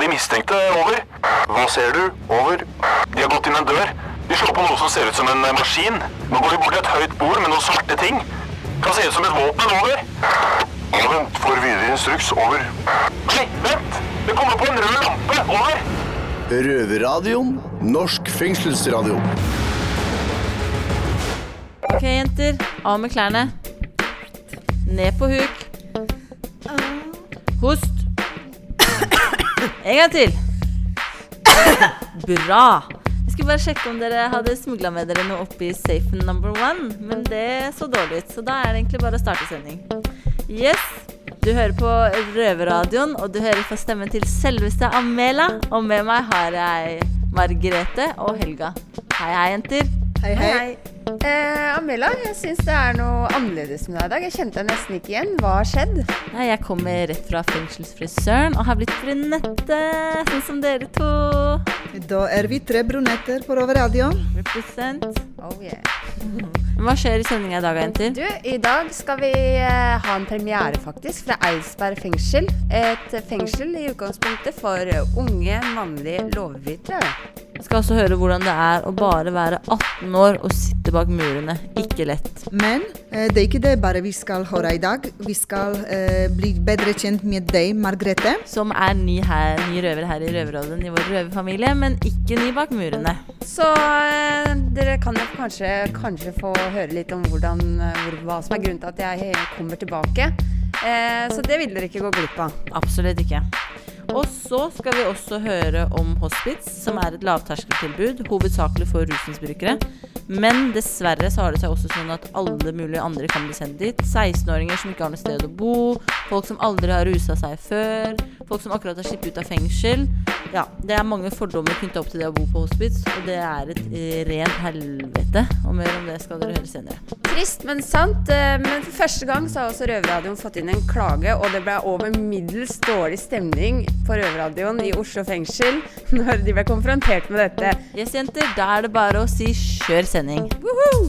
De mistenkte. Over. Hva ser du? Over. De har gått inn en dør. De slår på noe som ser ut som en eh, maskin. Nå går de bort til et høyt bord med noen svarte ting. Kan se ut som et våpen. Over. Vent, får videre instruks. Over. Nei, vent! Det kommer på en rød lampe. Over. Røverradioen. Norsk fengselsradio. Ok, jenter. Av med klærne. Ned på huk. Host. En gang til. Bra. Jeg skulle bare sjekke om dere hadde smugla med dere noe oppi safen number one, men det så dårlig ut, så da er det egentlig bare å starte sending. Yes. Du hører på Røverradioen, og du hører på stemmen til selveste Amela. Og med meg har jeg Margrethe og Helga. Hei, hei, jenter. Hei, hei. Eh, Amela, jeg syns det er noe annerledes med deg i dag. Jeg kjente deg nesten ikke igjen. Hva har skjedd? Nei, jeg kommer rett fra fengselsfrisøren og har blitt brunette, sånn som dere to. Da er vi tre brunetter på Røverradioen. Represent. Oh, yeah. Hva skjer i sendinga i dag, jenter? Du, i dag skal vi eh, ha en premiere, faktisk, fra Eidsberg fengsel. Et fengsel i utgangspunktet for eh, unge mannlige lovbrytere. Vi skal også høre hvordan det er å bare være 18 år og sitte bak murene. Ikke lett. Men eh, det er ikke det bare vi skal høre i dag. Vi skal eh, bli bedre kjent med deg, Margrethe. Som er ny, her, ny røver her i Røverradioen i vår røverfamilie, men ikke ny bak murene. Så eh, dere kan jo kanskje, kanskje få høre litt om hvordan, eh, hvor, hva som er grunnen til at jeg kommer tilbake. Eh, så det vil dere ikke gå glipp av. Absolutt ikke. Og så skal vi også høre om hospits, som er et lavterskeltilbud, hovedsakelig for rusmisbrukere. Men dessverre så har det seg også sånn at alle mulige andre kan bli sendt dit. 16-åringer som ikke har noe sted å bo, folk som aldri har rusa seg før, folk som akkurat har sluppet ut av fengsel. Ja, det er mange fordommer knytta opp til det å bo på hospits, og det er et eh, rent helvete. Og mer om det skal dere høre senere. Trist, men sant. Eh, Men for første gang så har også Røverradioen fått inn en klage, og det ble over middels dårlig stemning på Røverradioen i Oslo fengsel når de ble konfrontert med dette. Yes, jenter, da er det bare å si kjør sending. Woohoo!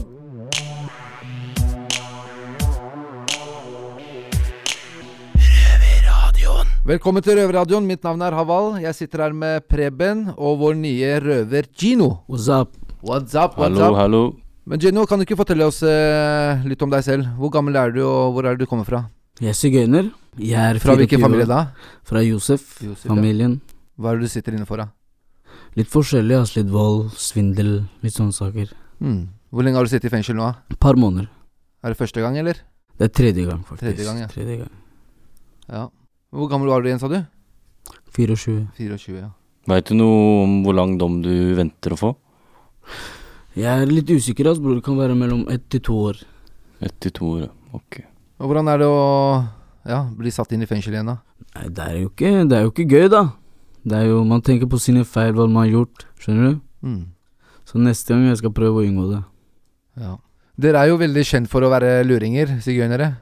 Velkommen til Røverradioen. Mitt navn er Haval. Jeg sitter her med Preben og vår nye røver Gino. What's up? What's up? What's Hallo, up? hallo. Men Gino, kan du ikke fortelle oss eh, litt om deg selv? Hvor gammel er du, og hvor er det du kommer fra? Jeg er sigøyner. Jeg er 24 Fra hvilken familie år. da? Fra Josef, Josef, ja. familien. Hva er det du sitter inne for, da? Litt forskjellig, ass. Litt vold, svindel, litt sånne saker. Hmm. Hvor lenge har du sittet i fengsel nå? da? Et par måneder. Er det første gang, eller? Det er tredje gang, faktisk. Tredje gang, ja. Tredje gang. Ja. Hvor gammel var du igjen, sa du? 24. 24, ja. Veit du noe om hvor lang dom du venter å få? Jeg er litt usikker, ass, bror. Det kan være mellom ett til to år. Ett til to år, ja. ok. Og hvordan er det å ja, bli satt inn i fengsel igjen, da? Nei, det er jo ikke, det er jo ikke gøy, da. Det er jo Man tenker på sine feil, hva man har gjort. Skjønner du? Hmm. Så neste gang jeg skal prøve å unngå det. Ja. Dere er jo veldig kjent for å være luringer, sigøynere.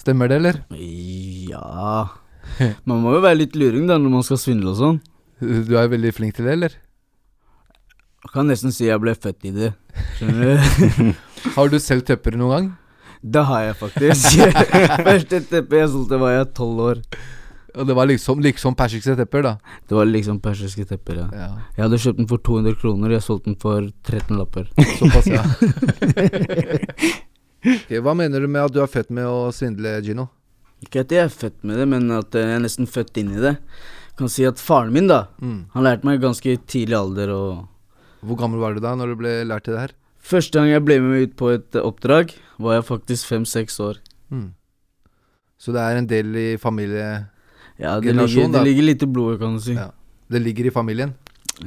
Stemmer det, eller? Ja Man må jo være litt luring, da, når man skal svindle og sånn. Du er jo veldig flink til det, eller? Jeg kan nesten si jeg ble født i det. Skjønner du? Har du selv tøpper noen gang? Det har jeg faktisk. Første teppet jeg solgte, var jeg tolv år. Og det var liksom, liksom persiske tepper, da. Det var liksom persiske tepper, ja. Ja, Jeg hadde kjøpt den for 200 kroner, jeg solgte den for 13 lapper. Såpass, ja. Ok, Hva mener du med at du er født med å svindle, Gino? Ikke at jeg er født med det, men at jeg er nesten født inn i det. Kan si at faren min, da, Mm. han lærte meg i ganske tidlig alder og Hvor gammel var du da når du ble lært til det her? Første gang jeg ble med ut på et eh, oppdrag, var jeg faktisk fem-seks år. Mm. Så det er en del i familie Ja, det ligger, Eh, Generasjon, da. det ligger litt i blodet, kan du si. Ja. Det ligger i familien.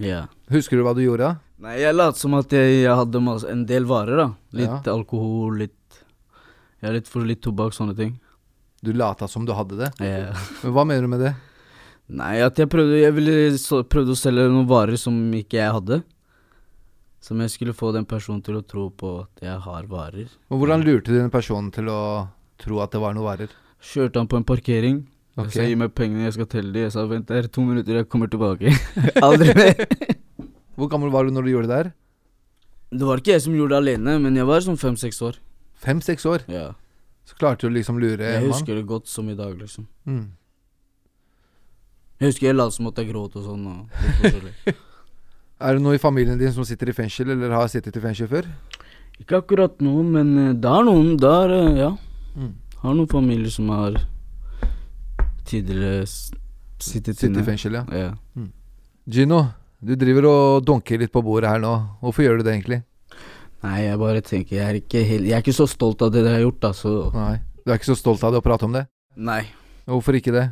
Ja. Husker du hva du gjorde da? Nei, jeg lot som at jeg, jeg hadde mas- en del varer, da. Litt alkohol, litt Ja, litt for litt tobakk, sånne ting. Du lata som du hadde det. Eh, Men hva mener du med det? Nei, at jeg prøvde Jeg ville så, prøvde å selge noen varer som ikke jeg hadde. Som jeg skulle få den personen til å tro på at jeg har varer. Og hvordan lurte du den personen til å tro at det var noe varer? Kjørte han på en parkering. Jeg Ok. sa gi meg pengene, jeg skal telle de. Jeg sa vent der, to minutter, jeg kommer tilbake. Aldri mer. Hvor gammel var du når du gjorde det her? Det var ikke jeg som gjorde det alene, men jeg var sånn fem-seks år. Fem-seks år. Ja. Så klarte du liksom lure Jeg en mann. husker det godt som i dag, liksom. Mm. Jeg husker jeg lot som at jeg gråt og sånn. Og litt forskjellig. Er det noe i familien din som sitter i fengsel, eller har sittet i fengsel før? Ikke akkurat nå, men eh, det er noen der, eh, ja. Mm. Har noen familier som har tidligere s- sittet Sitter i inne. fengsel, ja. Ja. mm. Gino, du driver og donker litt på bordet her nå. Hvorfor gjør du det egentlig? Nei, jeg bare tenker Jeg er ikke, helt, jeg er ikke så stolt av det jeg har gjort, da, så Nei. Du er ikke så stolt av det å prate om det? Nei. Hvorfor ikke det?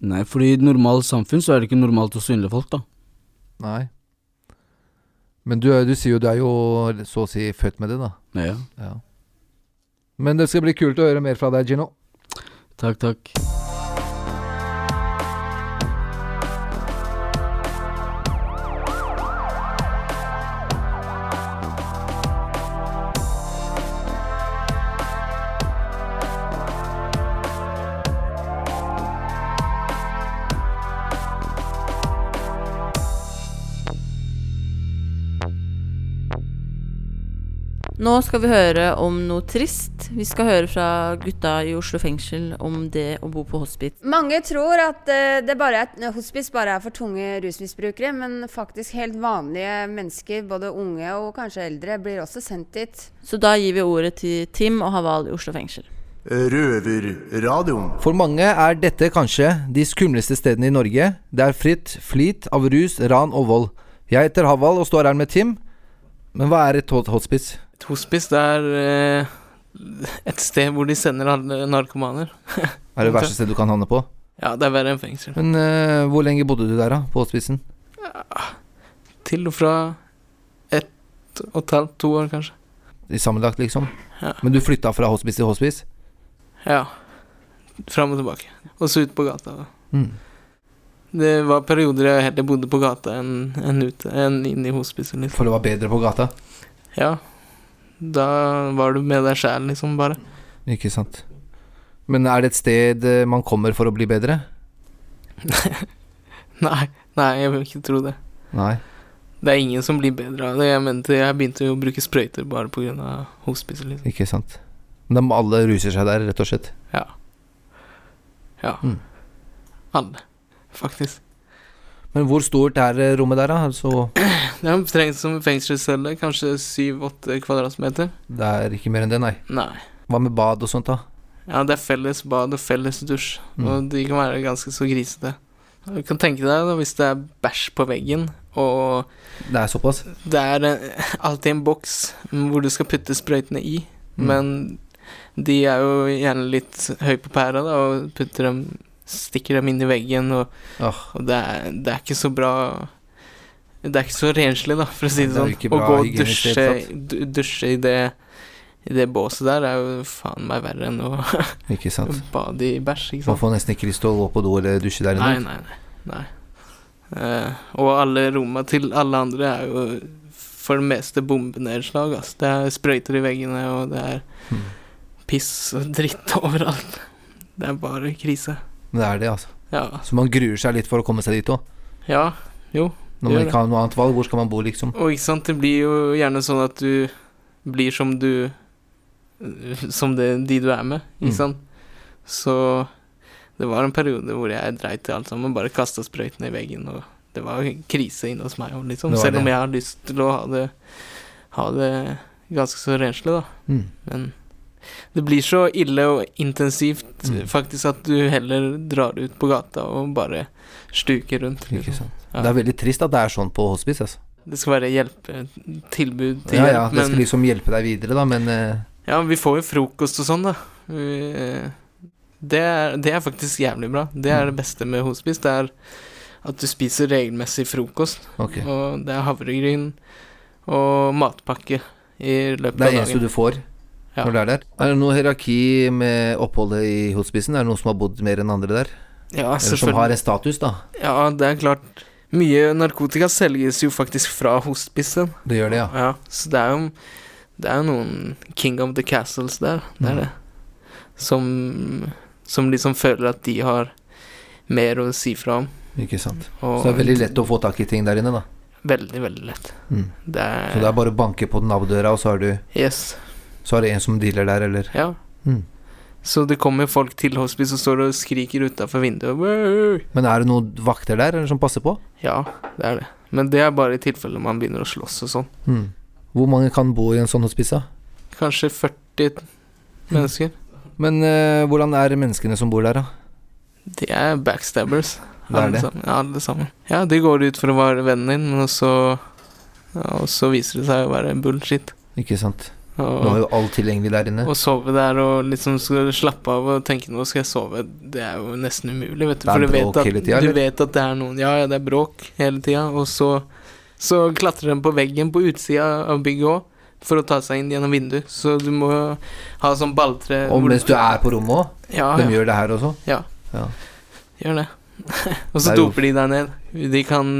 Nei, fordi i et normalt samfunn så er det ikke normalt å svindle folk, da. Nei. Men du, er- du sier jo du er jo så å si født med det, da. Ja. Ja. Men det skal bli kult å høre mer fra deg, Gino. Takk, takk. Nå skal vi høre om noe trist. Vi skal høre fra gutta i Oslo fengsel om det å bo på hospits. Mange tror at eh, det bare er, hospice bare er for tunge rusmisbrukere, men faktisk helt vanlige mennesker, både unge og kanskje eldre, blir også sendt dit. Så da gir vi ordet til Tim og Haval i Oslo fengsel. Røverradioen. For mange er dette kanskje de skumleste stedene i Norge. Det er fritt flyt av rus, ran og vold. Jeg heter Haval og står her med Tim. Men hva er et ho- hospice? Et hospice det er eh, et sted hvor de sender alle narkomaner. Er det verste stedet du kan havne på? Ja, det er verre enn fengsel. Men eh, hvor lenge bodde du der, da? På hospicen? Til og fra ett og et halvt, to år kanskje. I sammenlagt, liksom? Ja. Men du flytta fra hospice til hospice? Ja. Fram og tilbake. Og så ut på gata. da. Mm. Det var perioder jeg heller bodde på gata enn enn ute, enn inne i hospicet. Liksom. For det var bedre på gata? Ja. Da var du med deg sjæl, liksom, bare. Ikke sant. Men er det et sted eh, man kommer for å bli bedre? Nei, nei, jeg vil ikke tro det. Nei. Det er ingen som blir bedre av det. Jeg mente jeg begynte jo å bruke sprøyter bare pga. hospicet, liksom. Ikke sant. Men de alle ruser seg der, rett og slett. Ja. Ja. Mm. Alle, faktisk. Men hvor stort er eh, rommet der, da? Altså, Det er omtrent som en fengselscelle, kanskje syv-åtte kvadratmeter. det er ikke mer enn det, nei. Nei. Hva med bad og sånt, da? Ja, det er felles bad og felles dusj, Mm. og de kan være ganske så grisete. Du kan tenke deg da, hvis det er bæsj på veggen, og Det er såpass? Det er eh, alltid en boks mm, hvor du skal putte sprøytene i, Mm. men de er jo gjerne litt høy på pæra da, og putter dem, stikker dem inn i veggen, og, Åh, og det, er, det er ikke så bra Det er ikke så renslig, da, for å si Nei, det det er sånn. ikke Å bra gå og hygienisk i det dusje, hele du- dusje i, det, i det båset der er jo faen meg verre enn å ikke sant. bade i bæsj, ikke Man sant? får nesten ikke lyst til å gå på do eller dusje der Nei, inne. nei, nei. nei. Eh, og alle romma til alle andre er jo for det meste bombenedslag. ass. Det er sprøyter i veggene, og det er Hmm. piss og dritt overalt. Det er bare krise. Men det er det, altså. Ja. Så man gruer seg litt for å komme seg dit òg. ja. Når man Gjør det. ikke har noe annet valg, hvor skal man bo, liksom? Og ikke sant, det blir jo gjerne sånn at du blir som du Som det, de du er med, Mm. ikke sant. Så det var en periode hvor jeg dreit i alt sammen, bare kasta sprøytene i veggen, og det var jo krise inne hos meg òg, liksom. Det var Selv om det. jeg har lyst til å ha det, ha det ganske så renslig, da. Mm. Men det blir så ille og intensivt Mm. faktisk at du heller drar ut på gata og bare stuker rundt. Ikke Liksom. sant. Ja. Det er veldig trist at det er sånn på hospice, altså. Det skal være hjelpetilbud til Ja, ja, hjelp, det skal men- liksom hjelpe deg videre, da, men eh, Ja, vi får jo frokost og sånn, da. Vi, eh, det, er, det er faktisk jævlig bra. Det er Mm. det beste med hospice. Det er at du spiser regelmessig frokost, ok. og det er havregryn og matpakke i løpet Det er av det eneste dagen. du får Ja. når du er der. Er det noe hierarki med oppholdet i hospicen? Er det noen som har bodd mer enn andre der? Ja, Eller som har selvfølgelig. en status, da? Ja, det er klart. Mye narkotika selges jo faktisk fra hospicen. Det gjør det, ja. Ja, så det er jo Det er jo noen King of the Castles der, det Mm. er det. Som, som liksom føler at de har mer å si fra om. Ikke sant. Og Så det er veldig lett å få tak i ting der inne, da. Veldig, veldig lett. Mm. Det er, Så det er bare å banke på den Nav-døra, og så har du Yes. Så er det en som dealer der, eller Ja. Mm. Så det kommer folk til hospice og står og skriker utafor vinduet. «Wow!» Men er det noen vakter der eller som passer på? Ja, det er det. Men det er bare i tilfelle man begynner å slåss og sånn. Hmm. Hvor mange kan bo i en sånn hospice? da? Kanskje 40 mennesker. Men eh, hvordan er menneskene som bor der, da? De er backstabbers. Det er alle det. sammen. Ja, alle sammen. Ja, de går ut for å være vennen din, men så ja, Og så viser det seg å være bullshit. Ikke sant. Nå er Og, jo alt tilgjengelig der inne. å sove der og liksom skal slappe av og tenke nå skal jeg sove, det er jo nesten umulig, vet du. Det er For du bråk vet, at, hele tida, du eller? vet at det er noen Ja, ja, det er bråk hele tida, og så Så klatrer de på veggen på utsida av bygget òg. For å ta seg inn gjennom vinduet, så du må ha sånn balltre Og mens du er på rommet òg. Ja, De ja, gjør det her også. gjør det. og så Det er jo- doper de deg ned. De kan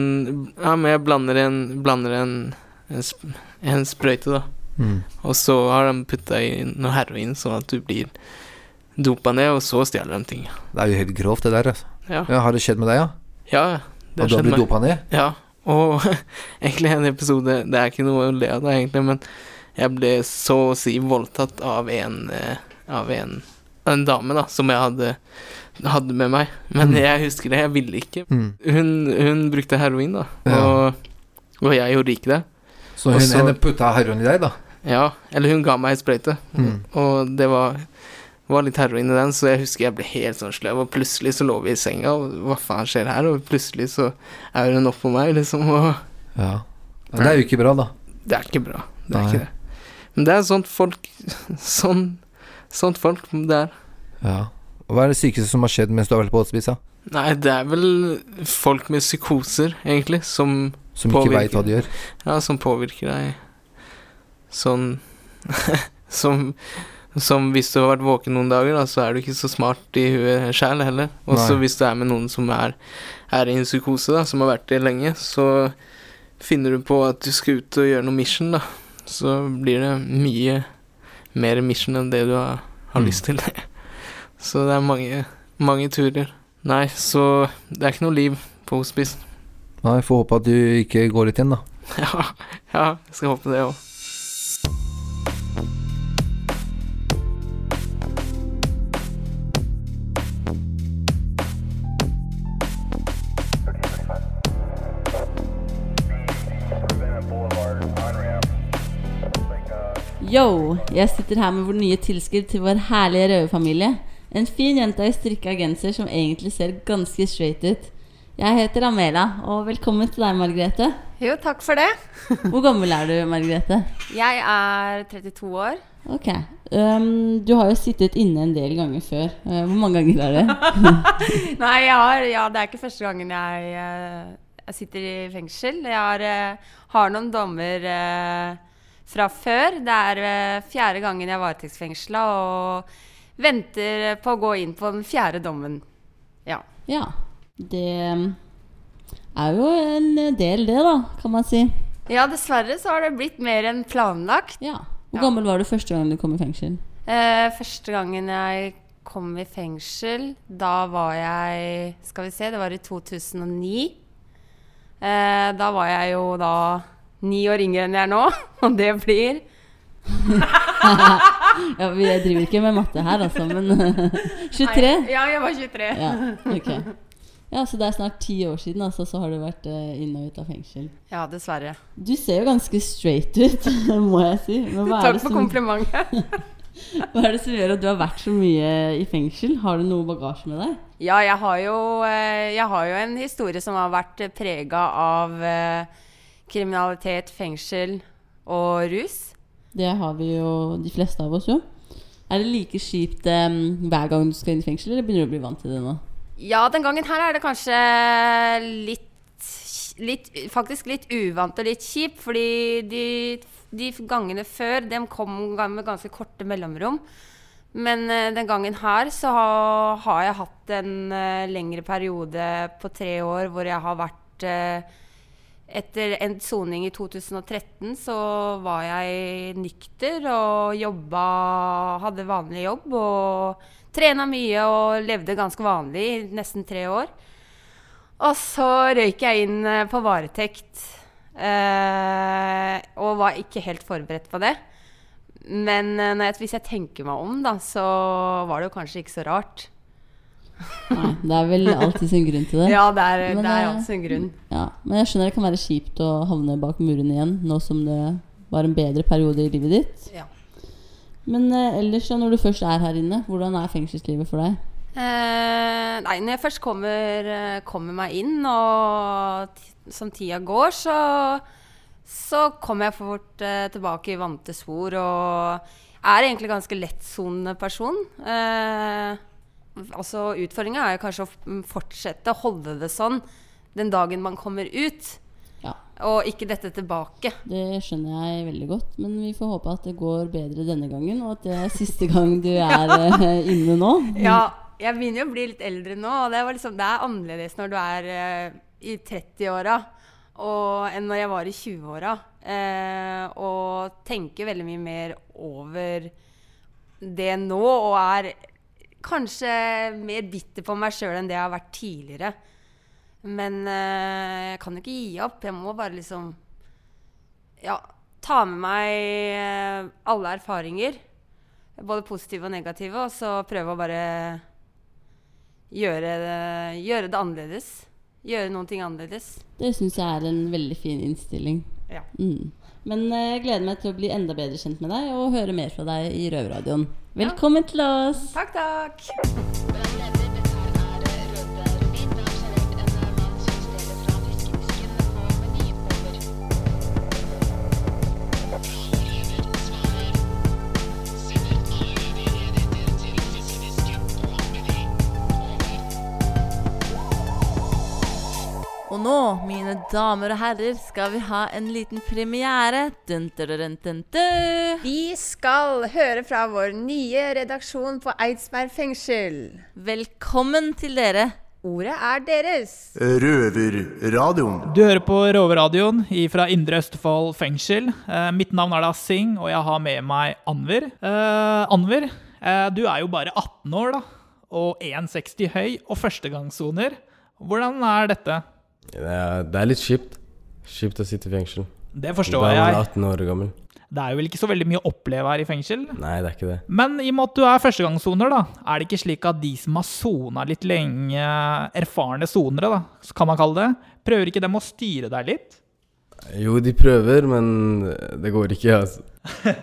Ja, men jeg blander en Blander en, en, sp en sprøyte, da. Mm. Og så har de putta i noe heroin, sånn at du blir dopa ned, og så stjeler de ting. Det er jo helt grovt, det der. Altså. Ja, Ja, har det skjedd med deg, ja? ja. Det Og du har skjedde blitt meg. dopa ned? Ja. Og egentlig en episode Det er ikke noe å le av, det, egentlig, men jeg ble så å si voldtatt av en eh, Av en, en dame, da, som jeg hadde, hadde med meg. Men jeg husker det, jeg ville ikke. Mm. Hun, hun brukte heroin, da, Ja. og, og jeg gjorde ikke det. Så Og hun så- henne putta heroin i deg, da? Ja, eller hun ga meg en sprøyte, Mm. og det var, var litt heroin i den, så jeg husker jeg ble helt sånn sløv, og plutselig så lå vi i senga, og hva faen skjer her, og plutselig så er hun oppå meg, liksom, og Ja. ja. Det er jo ikke bra, da. det er ikke bra. Det er Nei. ikke det. Men det er sånt folk Sånn sånt folk det er. Ja. Hva er det sykeste som har skjedd mens du har vært på hospice? da? Nei, det er vel folk med psykoser, egentlig, som Som Påvirker. ikke veit hva de gjør? Ja, som påvirker deg sånn som, som hvis du har vært våken noen dager, da, så er du ikke så smart i huet sjæl heller. Og så Nei. hvis du er med noen som er, er i en psykose, da, som har vært det lenge, så finner du på at du skal ut og gjøre noe mission, da. Så blir det mye mer mission enn det du har, har Mm. lyst til. så det er mange, mange turer. Nei, så det er ikke noe liv på hospice. Nei, får håpe at du ikke går litt igjen, da. Ja, ja, jeg skal håpe det òg. Yo, jeg sitter her med vår nye tilskudd til vår herlige røverfamilie. En fin jente i strikka genser som egentlig ser ganske straight ut. Jeg heter Amela, og velkommen til deg, Margrethe. Jo, takk for det. Hvor gammel er du, Margrethe? Jeg er 32 år. Ok. øhm, du har jo sittet inne en del ganger før. Eh, hvor mange ganger er det? Nei, jeg har, ja, det er ikke første gangen jeg, eh, jeg sitter i fengsel. Jeg har, eh, har noen dommer eh, fra før. Det er eh, fjerde gangen jeg er varetektsfengsla og venter eh, på å gå inn på den fjerde dommen. Ja. Ja. Det øhm, er jo en eh, del, det, da, kan man si. ja, dessverre så har det blitt mer enn planlagt. Ja. Hvor Ja. gammel var du første gang du kom i fengsel? Eh, første gangen jeg kom i fengsel, da var jeg Skal vi se, det var i 2009. Eh, da var jeg jo da ni år yngre enn jeg er nå, og det blir Ja, Vi driver ikke med matte her, altså, men 23? Nei, Ja, jeg var 23. Ja, ok. Ja, så det er snart ti år siden, altså, så har du vært eh, inn og ut av fengsel. Ja, dessverre. Du ser jo ganske straight ut, må jeg si. Men hva er, Takk det for som, komplimentet. hva er det som gjør at du har vært så mye i fengsel? Har du noe bagasje med deg? Ja, jeg har jo, eh, jeg har jo en historie som har vært prega av eh, kriminalitet, fengsel og rus. Det har vi jo, de fleste av oss jo. Er det like kjipt eh, hver gang du skal inn i fengsel, eller begynner du å bli vant til det nå? Ja, den gangen her er det kanskje litt, litt Faktisk litt uvant og litt kjipt, fordi de, de gangene før, dem kom med ganske korte mellomrom. Men eh, den gangen her så ha, har jeg hatt en eh, lengre periode på tre år hvor jeg har vært eh, Etter endt soning i 2013 så var jeg nykter og jobba Hadde vanlig jobb og trena mye og levde ganske vanlig i nesten tre år. Og så røyk jeg inn eh, på varetekt eh, og var ikke helt forberedt på det. Men eh, når jeg, hvis jeg tenker meg om, da, så var det jo kanskje ikke så rart. Nei, det er vel alltid sin grunn til det. Ja, det er, Men, det er eh, alltid en grunn. Ja, men jeg skjønner det kan være kjipt å havne bak muren igjen, nå som det var en bedre periode i livet ditt. Ja. Men eh, ellers, da, når du først er her inne, hvordan er fengselslivet for deg? Eh, nei, når jeg først kommer, eh, kommer meg inn, og t som tida går, så, så kommer jeg fort eh, tilbake i vante spor. Og er egentlig ganske lettsonende person. Eh, altså Utfordringa er jo kanskje å f- mm, fortsette å holde det sånn den dagen man kommer ut, og ikke dette tilbake. Det skjønner jeg veldig godt, men vi får håpe at det går bedre denne gangen, og at det er siste gang du er eh, inne nå. Ja, jeg begynner jo å bli litt eldre nå, og det, var liksom, det er annerledes når du er eh, i 30-åra og- enn når jeg var i 20-åra. eh, og tenker veldig mye mer over det nå, og er kanskje mer bitter på meg sjøl enn det jeg har vært tidligere. Men eh, jeg kan jo ikke gi opp. Jeg må bare liksom ja, ta med meg eh, alle erfaringer, både positive og negative, og så prøve å bare gjøre det, gjøre det annerledes. Gjøre noen ting annerledes. Det syns jeg er en veldig fin innstilling. Ja. Mm. Men eh, jeg gleder meg til å bli enda bedre kjent med deg og høre mer fra deg i Røverradioen. Velkommen til oss! Takk, takk! Og nå, mine damer og herrer, skal vi ha en liten premiere. Dun, dun, dun, dun, dun. Vi skal høre fra vår nye redaksjon på Eidsberg fengsel. Velkommen til dere. Ordet er deres. Røverradioen. Du hører på Roveradioen fra Indre Østfold fengsel. Eh, mitt navn er da Singh, og jeg har med meg Anver. Eh, Anver, eh, du er jo bare 18 år da, og 1,60 høy og førstegangssoner. Hvordan er dette? Det er, det er litt kjipt. Kjipt å sitte i fengsel. Det forstår da Da jeg. var du 18 år gammel. Det er jo vel ikke så veldig mye å oppleve her i fengsel? Nei, det er ikke det. Men i og med at du er førstegangssoner, da, er det ikke slik at de som har sona litt lenge, erfarne sonere, da, kan man kalle det, prøver ikke dem å styre deg litt? Jo, de prøver, men det går ikke, altså. Eh,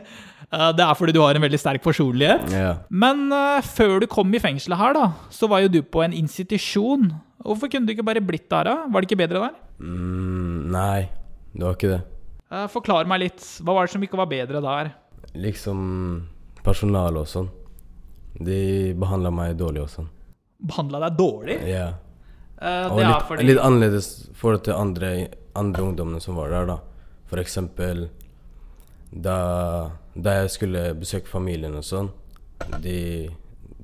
Det er fordi du har en veldig sterk personlighet. Ja. Men eh, før du kom i fengselet her, da, så var jo du på en institusjon. Hvorfor kunne du ikke bare blitt der, da? Var det ikke bedre der? Mm, nei, det var ikke det. Eh, Forklar meg litt. Hva var det som ikke var bedre der? Liksom personalet og sånn. De behandla meg dårlig og sånn. Behandla deg dårlig? Ja. Eh, Og det litt, er fordi litt annerledes forhold til andre, andre ungdommene som var der, da. For eksempel da, da jeg skulle besøke familien og sånn, de,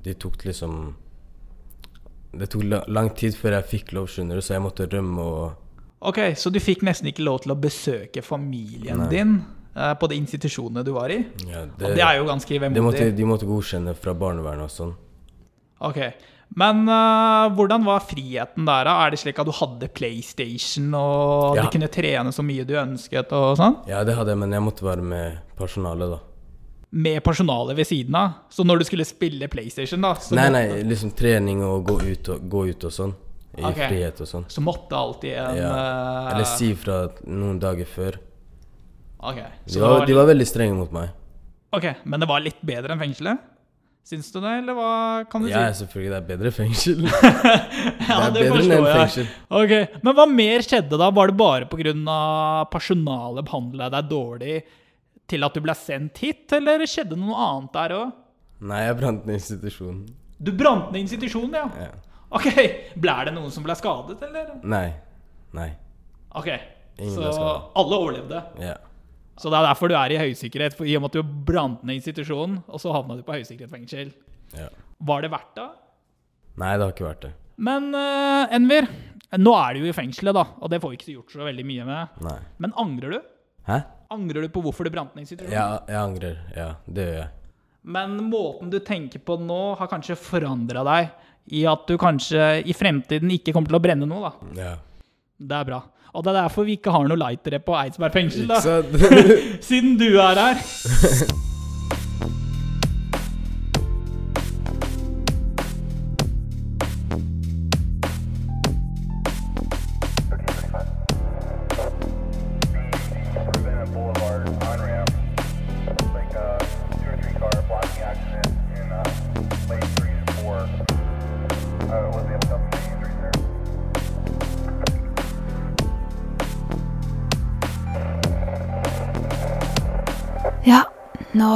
de tok liksom Det tok la- lang tid før jeg fikk lov, skjønner du, så jeg måtte rømme og Ok, så du fikk nesten ikke lov til å besøke familien Nei. din eh, på de institusjonene du var i? og det er jo ganske De måtte, vemodig. de måtte godkjenne fra barnevernet og sånn. Ok, Men eh, hvordan var friheten der, da? Er det slik at du hadde PlayStation, og Ja. du kunne trene så mye du ønsket? og sånn? Ja, det hadde jeg, men jeg måtte være med personalet, da. med personalet ved siden av. Så når du skulle spille PlayStation, da, så, Nei, nei, måtte, liksom trening og gå ut og, gå ut og sånn. I Ok. frihet og sånn. så måtte alltid en Ja. eh, Eller si fra noen dager før. Ok, så De det var var, de litt- var veldig strenge mot meg. Ok, men det var litt bedre enn fengselet? Syns du det, eller hva kan du Ja, si? selvfølgelig. Det er bedre fengsel. Ja, det er bedre enn fengsel. Ok, Men hva mer skjedde da? Var det bare pga. personalet behandla deg dårlig til at du ble sendt hit, eller skjedde noe annet der òg? Nei, jeg brant ned institusjonen. Du brant ned institusjonen, ja? Ok, Ble det noen som ble skadet, eller? Nei. Nei. Ok, Ingen så ble skadet. alle overlevde? Ja. Så det er derfor du er i høysikkerhet, for i og med at du brant ned institusjonen, og så havna du på høysikkerhetsfengsel. Ja. Var det verdt det? Nei, det har ikke vært det. Men eh, Enver, nå er du jo i fengselet, da, og det får vi ikke gjort så veldig mye med. Nei. Men angrer du? Hæ? Angrer du på hvorfor du brant ned institusjonen? Ja, jeg angrer. Ja, det gjør jeg. Men måten du tenker på nå, har kanskje forandra deg, i at du kanskje i fremtiden ikke kommer til å brenne noe, da. Ja. Det er bra. Og det er derfor vi ikke har noe lightere på Eidsberg fengsel, da. Ikke sant? Siden du er her. Nå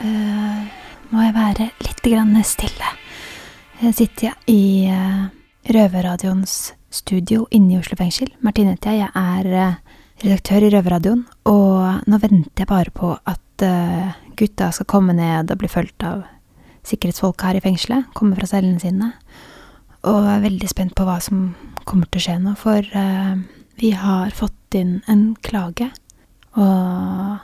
eh, må jeg være litt grann stille. Her sitter jeg i eh, Røverradioens studio inne i Oslo fengsel. Martine heter jeg. Jeg er eh, redaktør i Røverradioen. Og nå venter jeg bare på at eh, gutta skal komme ned og bli fulgt av sikkerhetsfolk her i fengselet. Komme fra cellene sine. Og jeg er veldig spent på hva som kommer til å skje nå, for eh, vi har fått inn en klage. Og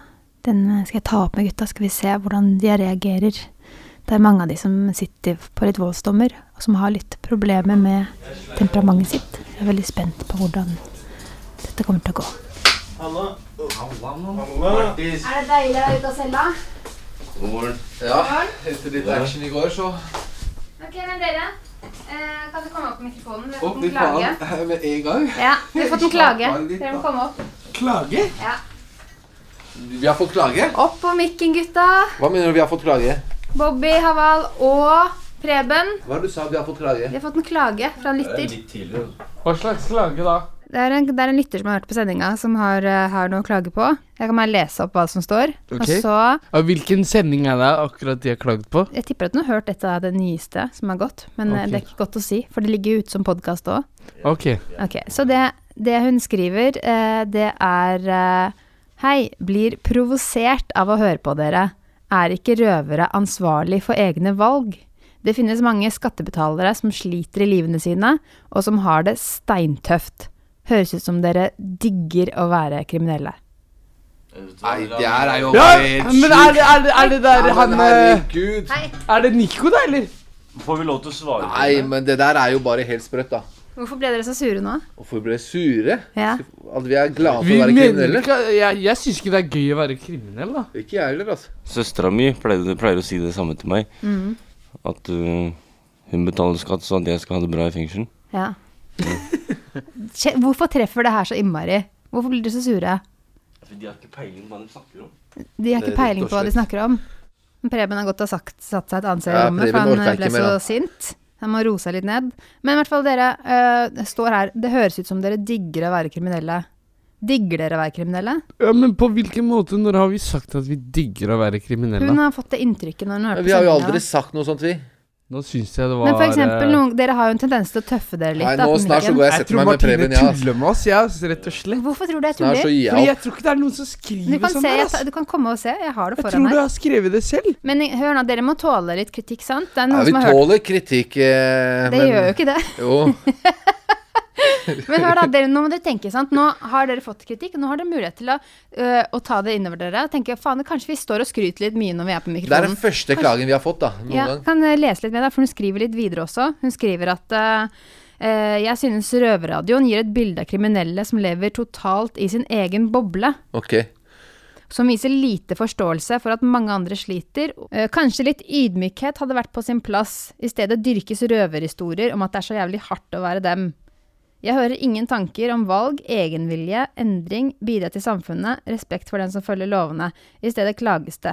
den skal jeg ta opp med gutta, skal vi se hvordan de reagerer. Det er mange av de som sitter på litt voldsdommer, og som har litt problemer med temperamentet sitt. Jeg er veldig spent på hvordan dette kommer til å gå. Halla. det deilig å være ute av cella? God morgen. Ja, etter litt action i går, så Ok, men dere, eh, kan dere komme opp på mikrofonen? Vi Å, fy faen. Med en gang. komme opp. Klage? Ja. Vi har fått klage? Opp på mikken, gutta. Hva mener du vi har fått klage? Bobby, Haval og Preben. Hva er det du sa vi har fått klage? Vi har fått en klage fra en lytter. Hva slags klage da? Det er, en, det er en lytter som har hørt på sendinga, som har, eh, har noe å klage på. Jeg kan bare lese opp hva som står. Ok. Og så Ja, hvilken sending er det akkurat de har klagd på? Jeg tipper at hun har hørt et av det nyeste som har gått, men eh, Ok. det er ikke godt å si, for det ligger jo ute som podkast òg. Ok. Ok, så det, det hun skriver, eh, det er eh, Hei, blir provosert av å høre på dere. Er ikke røvere ansvarlig for egne valg? Det finnes mange skattebetalere som sliter i livene sine, og som har det steintøft. Høres ut som dere digger å være kriminelle. Nei, det her er jo Ja, helt men er det, er det, er det der Ja, men han eh, herregud. Er det Nico, da, eller? Får vi lov til å svare? Nei, men det der er jo bare helt sprøtt, da. Hvorfor ble dere så sure nå? Hvorfor ble vi sure? Ja. At vi er glade for Vi å være mener kriminelle? ikke Jeg, jeg syns ikke det er gøy å være kriminell, da. Ikke jeg heller, altså. Søstera mi pleier, pleier å si det samme til meg. Mhm. At uh, hun betaler skatt, så at jeg skal ha det bra i fengsel. Ja. Kje- Hvorfor treffer det her så innmari? Hvorfor blir dere så sure? De har ikke peiling på hva de snakker om. De har Det ikke er rett peiling og på hva de slett. snakker om. Men Preben har godt ha sagt, satt seg et annet sted i Ja, rommet, Preben for han orker eh, ikke ble mer, så han. sint. Han må roe seg litt ned. Men i hvert fall, dere eh, står her. Det høres ut som dere digger å være kriminelle. Digger dere å være kriminelle? Ja, Men på hvilken måte? Når har vi sagt at vi digger å være kriminelle? Hun har fått det inntrykket når hun hørte Vi har jo sendinga. aldri sagt noe sånt, vi. Nå syns jeg det var Men for eh, eksempel, noen, dere har jo en tendens til å tøffe dere litt. Nei, da, nå på snart så mikken. går jeg og setter meg med Preben, ja. Martine tuller med oss, ja, rett og slett. Hvorfor tror du jeg Snart tuller? så gir jeg Fordi jeg opp. tror ikke det er noen som skriver Du kan, sånn se, der, jeg, ass. du kan komme og se. Jeg har det Jeg foran tror meg. du har skrevet det selv. Men eh, hør nå, dere må tåle litt kritikk, sant? Det er Nei, noen vi som har hørt tåler kritikk, eh, Det gjør jo ikke det. Jo. Men hør da, dere, nå må dere tenke, sant? Nå har dere fått kritikk, nå har dere mulighet til å, øh, å ta det innover dere. og Tenke, faen, kanskje vi står og skryter litt mye når vi er Det på er den mikrofonen. første klagen vi har fått, da. Noen sånn. Ja, gang. kan jeg lese litt med deg, for hun skriver litt videre også. Hun skriver at øh, øh, jeg synes røverradioen gir et bilde av kriminelle som lever totalt i sin egen boble, Ok. som viser lite forståelse for at mange andre sliter. Øh, kanskje litt ydmykhet hadde vært på sin plass. I stedet dyrkes røverhistorier om at det er så jævlig hardt å være dem. Jeg hører ingen tanker om valg, egenvilje, endring, bidra til samfunnet, respekt for den som følger lovene. I stedet klages det.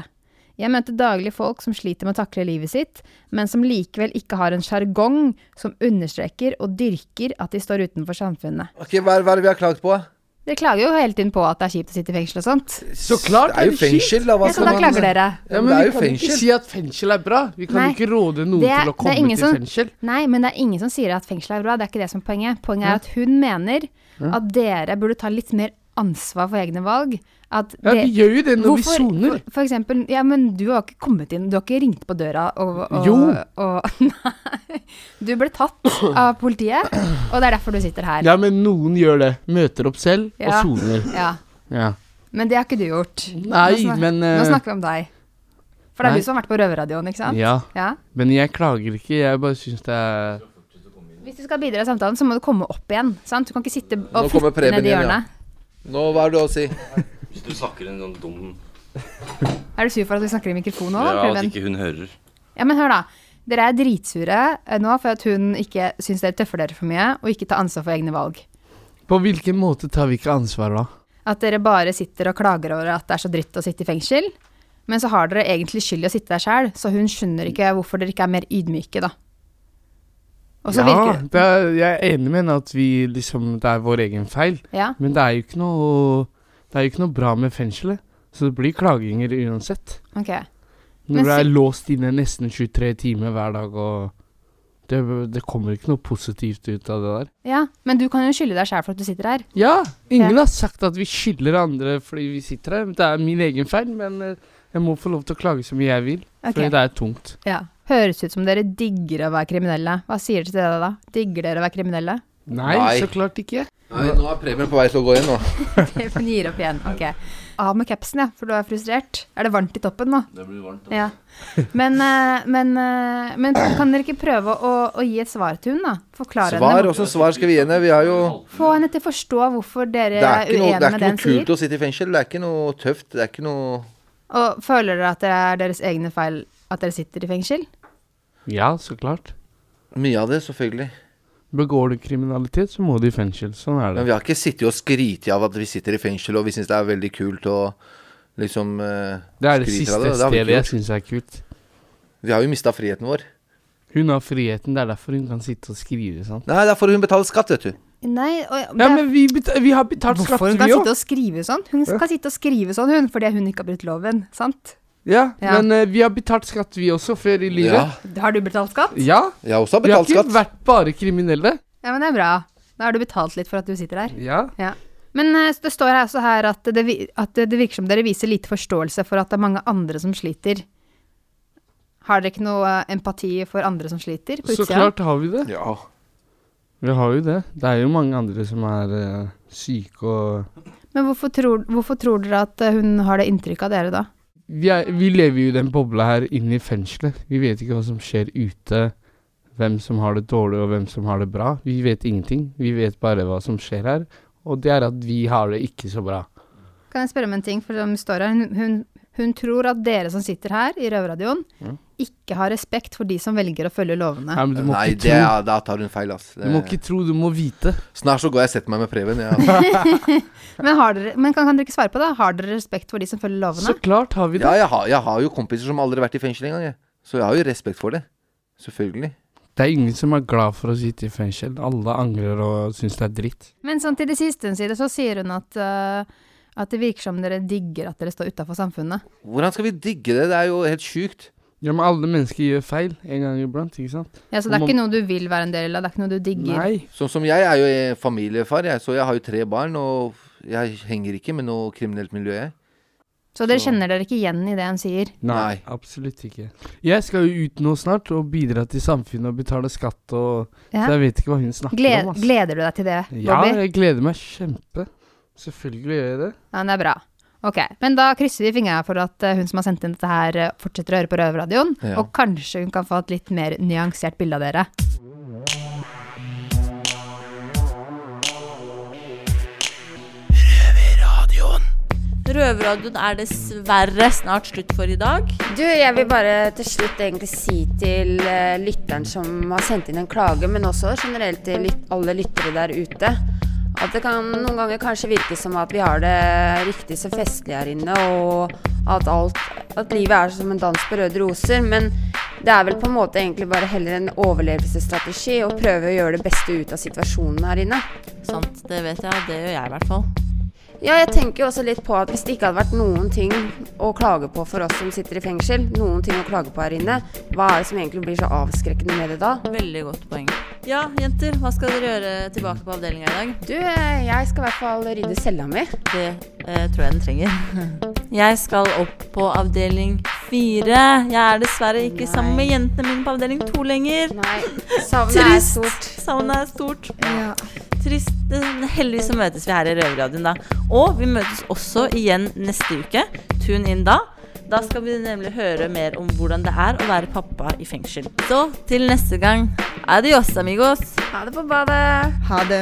Jeg møter daglig folk som sliter med å takle livet sitt, men som likevel ikke har en sjargong som understreker og dyrker at de står utenfor samfunnet. Ok, Hva er hva er det vi har klagd på? da? Dere klager jo hele tiden på at det er kjipt å sitte i fengsel og sånt. Så klart Det er jo fengsel, da. Hva Ja, så skal da man klager dere. Ja, men det er vi jo kan ikke fengsel. si at fengsel er bra. Vi kan Nei. ikke råde noen Det- til å det er komme ingen til som- fengsel. Nei, men det er ingen som sier at fengsel er bra. Det er ikke det som er poenget. Poenget er Ja. at hun mener Ja. at dere burde ta litt mer ansvar for egne valg. At Ja, det- vi gjør jo det når vi Hvorfor- soner. For, for eksempel, ja, men du har ikke kommet inn, du har ikke ringt på døra og, og Jo. Og, nei. Du ble tatt av politiet, og det er derfor du sitter her. Ja, men noen gjør det. Møter opp selv Ja. og soner. Ja. Ja. Men det har ikke du gjort. Nei, nå snak- men, eh, Nå snakker vi om deg. For det er nei. du som har vært på røverradioen, ikke sant? Ja. ja. Men jeg klager ikke, jeg bare syns det er Hvis du skal bidra i samtalen, så må du komme opp igjen. Sant? Du kan ikke sitte Nå og kommer flytte Preben ned i igjen, hjørnet. ja. Nå, hva er det du har å si? Hvis du snakker en sånn dum Er du sur for at vi snakker i mikrofon nå, da, Ja, at Preben? ikke hun hører. Ja, men hør da. Dere er dritsure eh, nå for at hun ikke syns dere tøffer dere for mye, og ikke tar ansvar for egne valg. På hvilken måte tar vi ikke ansvar da? At dere bare sitter og klager over at det er så dritt å sitte i fengsel. Men så har dere egentlig skyld i å sitte der sjøl, så hun skjønner ikke hvorfor dere ikke er mer ydmyke, da. Og så ja, virker det det er, jeg er enig med henne at vi liksom Det er vår egen feil. Ja. Men det er jo ikke noe Det er jo ikke noe bra med fengselet. Så det blir klaginger uansett. Ok. Men Når du er si- låst inne nesten 23 timer hver dag og det, det kommer ikke noe positivt ut av det der. Ja, men du kan jo skylde deg sjæl for at du sitter her. Ja, ingen Ja. har sagt at vi skylder andre fordi vi sitter her. Det er min egen feil, men eh, jeg må få lov til å klage så mye jeg vil. Ok. Fordi det er tungt. Ja. Høres ut som dere digger å være kriminelle. Hva sier dere til det da? Digger dere å være kriminelle? Nei, Nei. så klart ikke. Nei, nå er premien på vei til å gå inn nå. Hun gir opp igjen. Ok. Av med capsen, ja, for du er frustrert. Er det varmt i toppen nå? Det blir varmt, Ja. Men, eh, men, eh, men kan dere ikke prøve å, å gi et svar til hun da? Forklare Svar, henne. også svar skal vi gi henne. Vi har jo Få henne til å forstå hvorfor dere Det er, er ikke noe, uenige det er med ikke det noe hun sier. kult å sitte i fengsel. Det er ikke noe tøft. Det er ikke noe Og føler dere at det er deres egne feil at dere sitter i fengsel? Ja, så klart. Mye av det, selvfølgelig. Begår du kriminalitet, så må du i fengsel. Sånn er det. Men vi har ikke sittet og skritt av at vi sitter i fengsel, og vi syns det er veldig kult og liksom eh, Det er det skryter siste av det. Det har stedet vi ikke jeg gjort. syns er kult. Vi har jo mista friheten vår. Hun har friheten, det er derfor hun kan sitte og skrive sånn. Nei, det er for hun betaler skatt, vet du. Nei, og, Ja, men vi, beta- vi har betalt skatt, Hvorfor hun kan vi sitte òg. og skrive sånn? Hun Ja. skal sitte og skrive sånn, hun, fordi hun ikke har brutt loven, sant? Ja, Ja. men eh, vi har betalt skatt, vi også, før i livet. Har du betalt skatt? Ja. Jeg også har Vi har betalt ikke skatt. vært bare kriminelle. Ja, men det er bra. Da har du betalt litt for at du sitter der. Ja. Ja. Men eh, det står her også her at det, vi- at det virker som dere viser lite forståelse for at det er mange andre som sliter. Har dere ikke noe eh, empati for andre som sliter? på Så utsida? klart har vi det. Vi har jo det. Det er jo mange andre som er eh, syke og Men hvorfor tror, hvorfor tror dere at eh, hun har det inntrykket av dere da? vi, er, vi lever jo i den bobla her inne i fengselet. Vi vet ikke hva som skjer ute. Hvem som har det dårlig, og hvem som har det bra. Vi vet ingenting. Vi vet bare hva som skjer her. Og det er at vi har det ikke så bra. Kan jeg spørre om en ting? For som det står her, hun, hun, hun tror at dere som sitter her i Røverradioen, Ja. ikke har respekt for de som velger å følge Mm. lovene. Nei, men du må Nei, ikke det tro. er, da tar hun feil, ass. Du må ikke tro, du må vite. Snart så går jeg og setter meg med Preben. Ja. men har dere, men kan, kan dere ikke svare på det? Har dere respekt for de som følger lovene? klart har vi det. Ja, jeg har, jeg har jo kompiser som aldri har vært i fengsel engang, jeg. Så jeg har jo respekt for det. Selvfølgelig. Det er ingen som er glad for å sitte i fengsel. Alle angrer og syns det er dritt. Men sånn til det siste hun sier det, så sier hun at, eh, at det virker som dere digger at dere står utafor samfunnet. Hvordan skal vi digge det? Det er jo helt sjukt. Ja, men alle mennesker gjør feil en gang iblant, ikke sant? Ja, Så det er ikke noe du vil være en del av, det er ikke noe du digger. Sånn som jeg er jo eh, familiefar, jeg, så jeg har jo tre barn, og jeg henger ikke med noe kriminelt miljø, jeg. Så dere kjenner dere ikke igjen i det hun sier? Nei, absolutt ikke. Jeg skal jo ut nå snart og bidra til samfunnet og betale skatt og Ja. Så jeg vet ikke hva hun snakker Gled, om. ass. gleder du deg til det, Ja, Bobby? jeg gleder meg kjempe. Selvfølgelig gjør jeg det. Ja, men det er bra. Ok, men da krysser vi fingrene for at eh, hun som har sendt inn dette her, eh, fortsetter å høre på Røverradioen, Ja. og kanskje hun kan få et litt mer nyansert bilde av dere. Røverradioen er dessverre snart slutt for i dag. Du, jeg vil bare til slutt egentlig si til eh, lytteren som har sendt inn en klage, men også generelt til lyt alle lyttere der ute, at det kan noen ganger kanskje virke som at vi har det riktig så festlig her inne, og at, alt, at livet er som en dans på røde roser, men det er vel på en måte egentlig bare heller en overlevelsesstrategi å prøve å gjøre det beste ut av situasjonen her inne. Sant, det vet jeg, og det gjør jeg i hvert fall. Ja, jeg tenker jo også litt på at hvis det ikke hadde vært noen ting å klage på for oss som sitter i fengsel, noen ting å klage på her inne, hva er det som egentlig blir så avskrekkende med det da? Veldig godt poeng. Ja, jenter, hva skal dere gjøre tilbake på avdelinga i dag? Du, eh, jeg skal i hvert fall rydde cella mi. Det eh, tror jeg den trenger. Jeg skal opp på avdeling fire. Jeg er dessverre ikke sammen med jentene mine på avdeling to lenger. Nei, savnet er stort. Savnet er stort. Trist. Men Heldigvis så møtes vi her i Røverradioen da. Og vi møtes også igjen neste uke. Tune inn da. Da skal vi nemlig høre mer om hvordan det er å være pappa i fengsel. Så til neste gang. Adios, amigos. Ha det på badet. Ha det.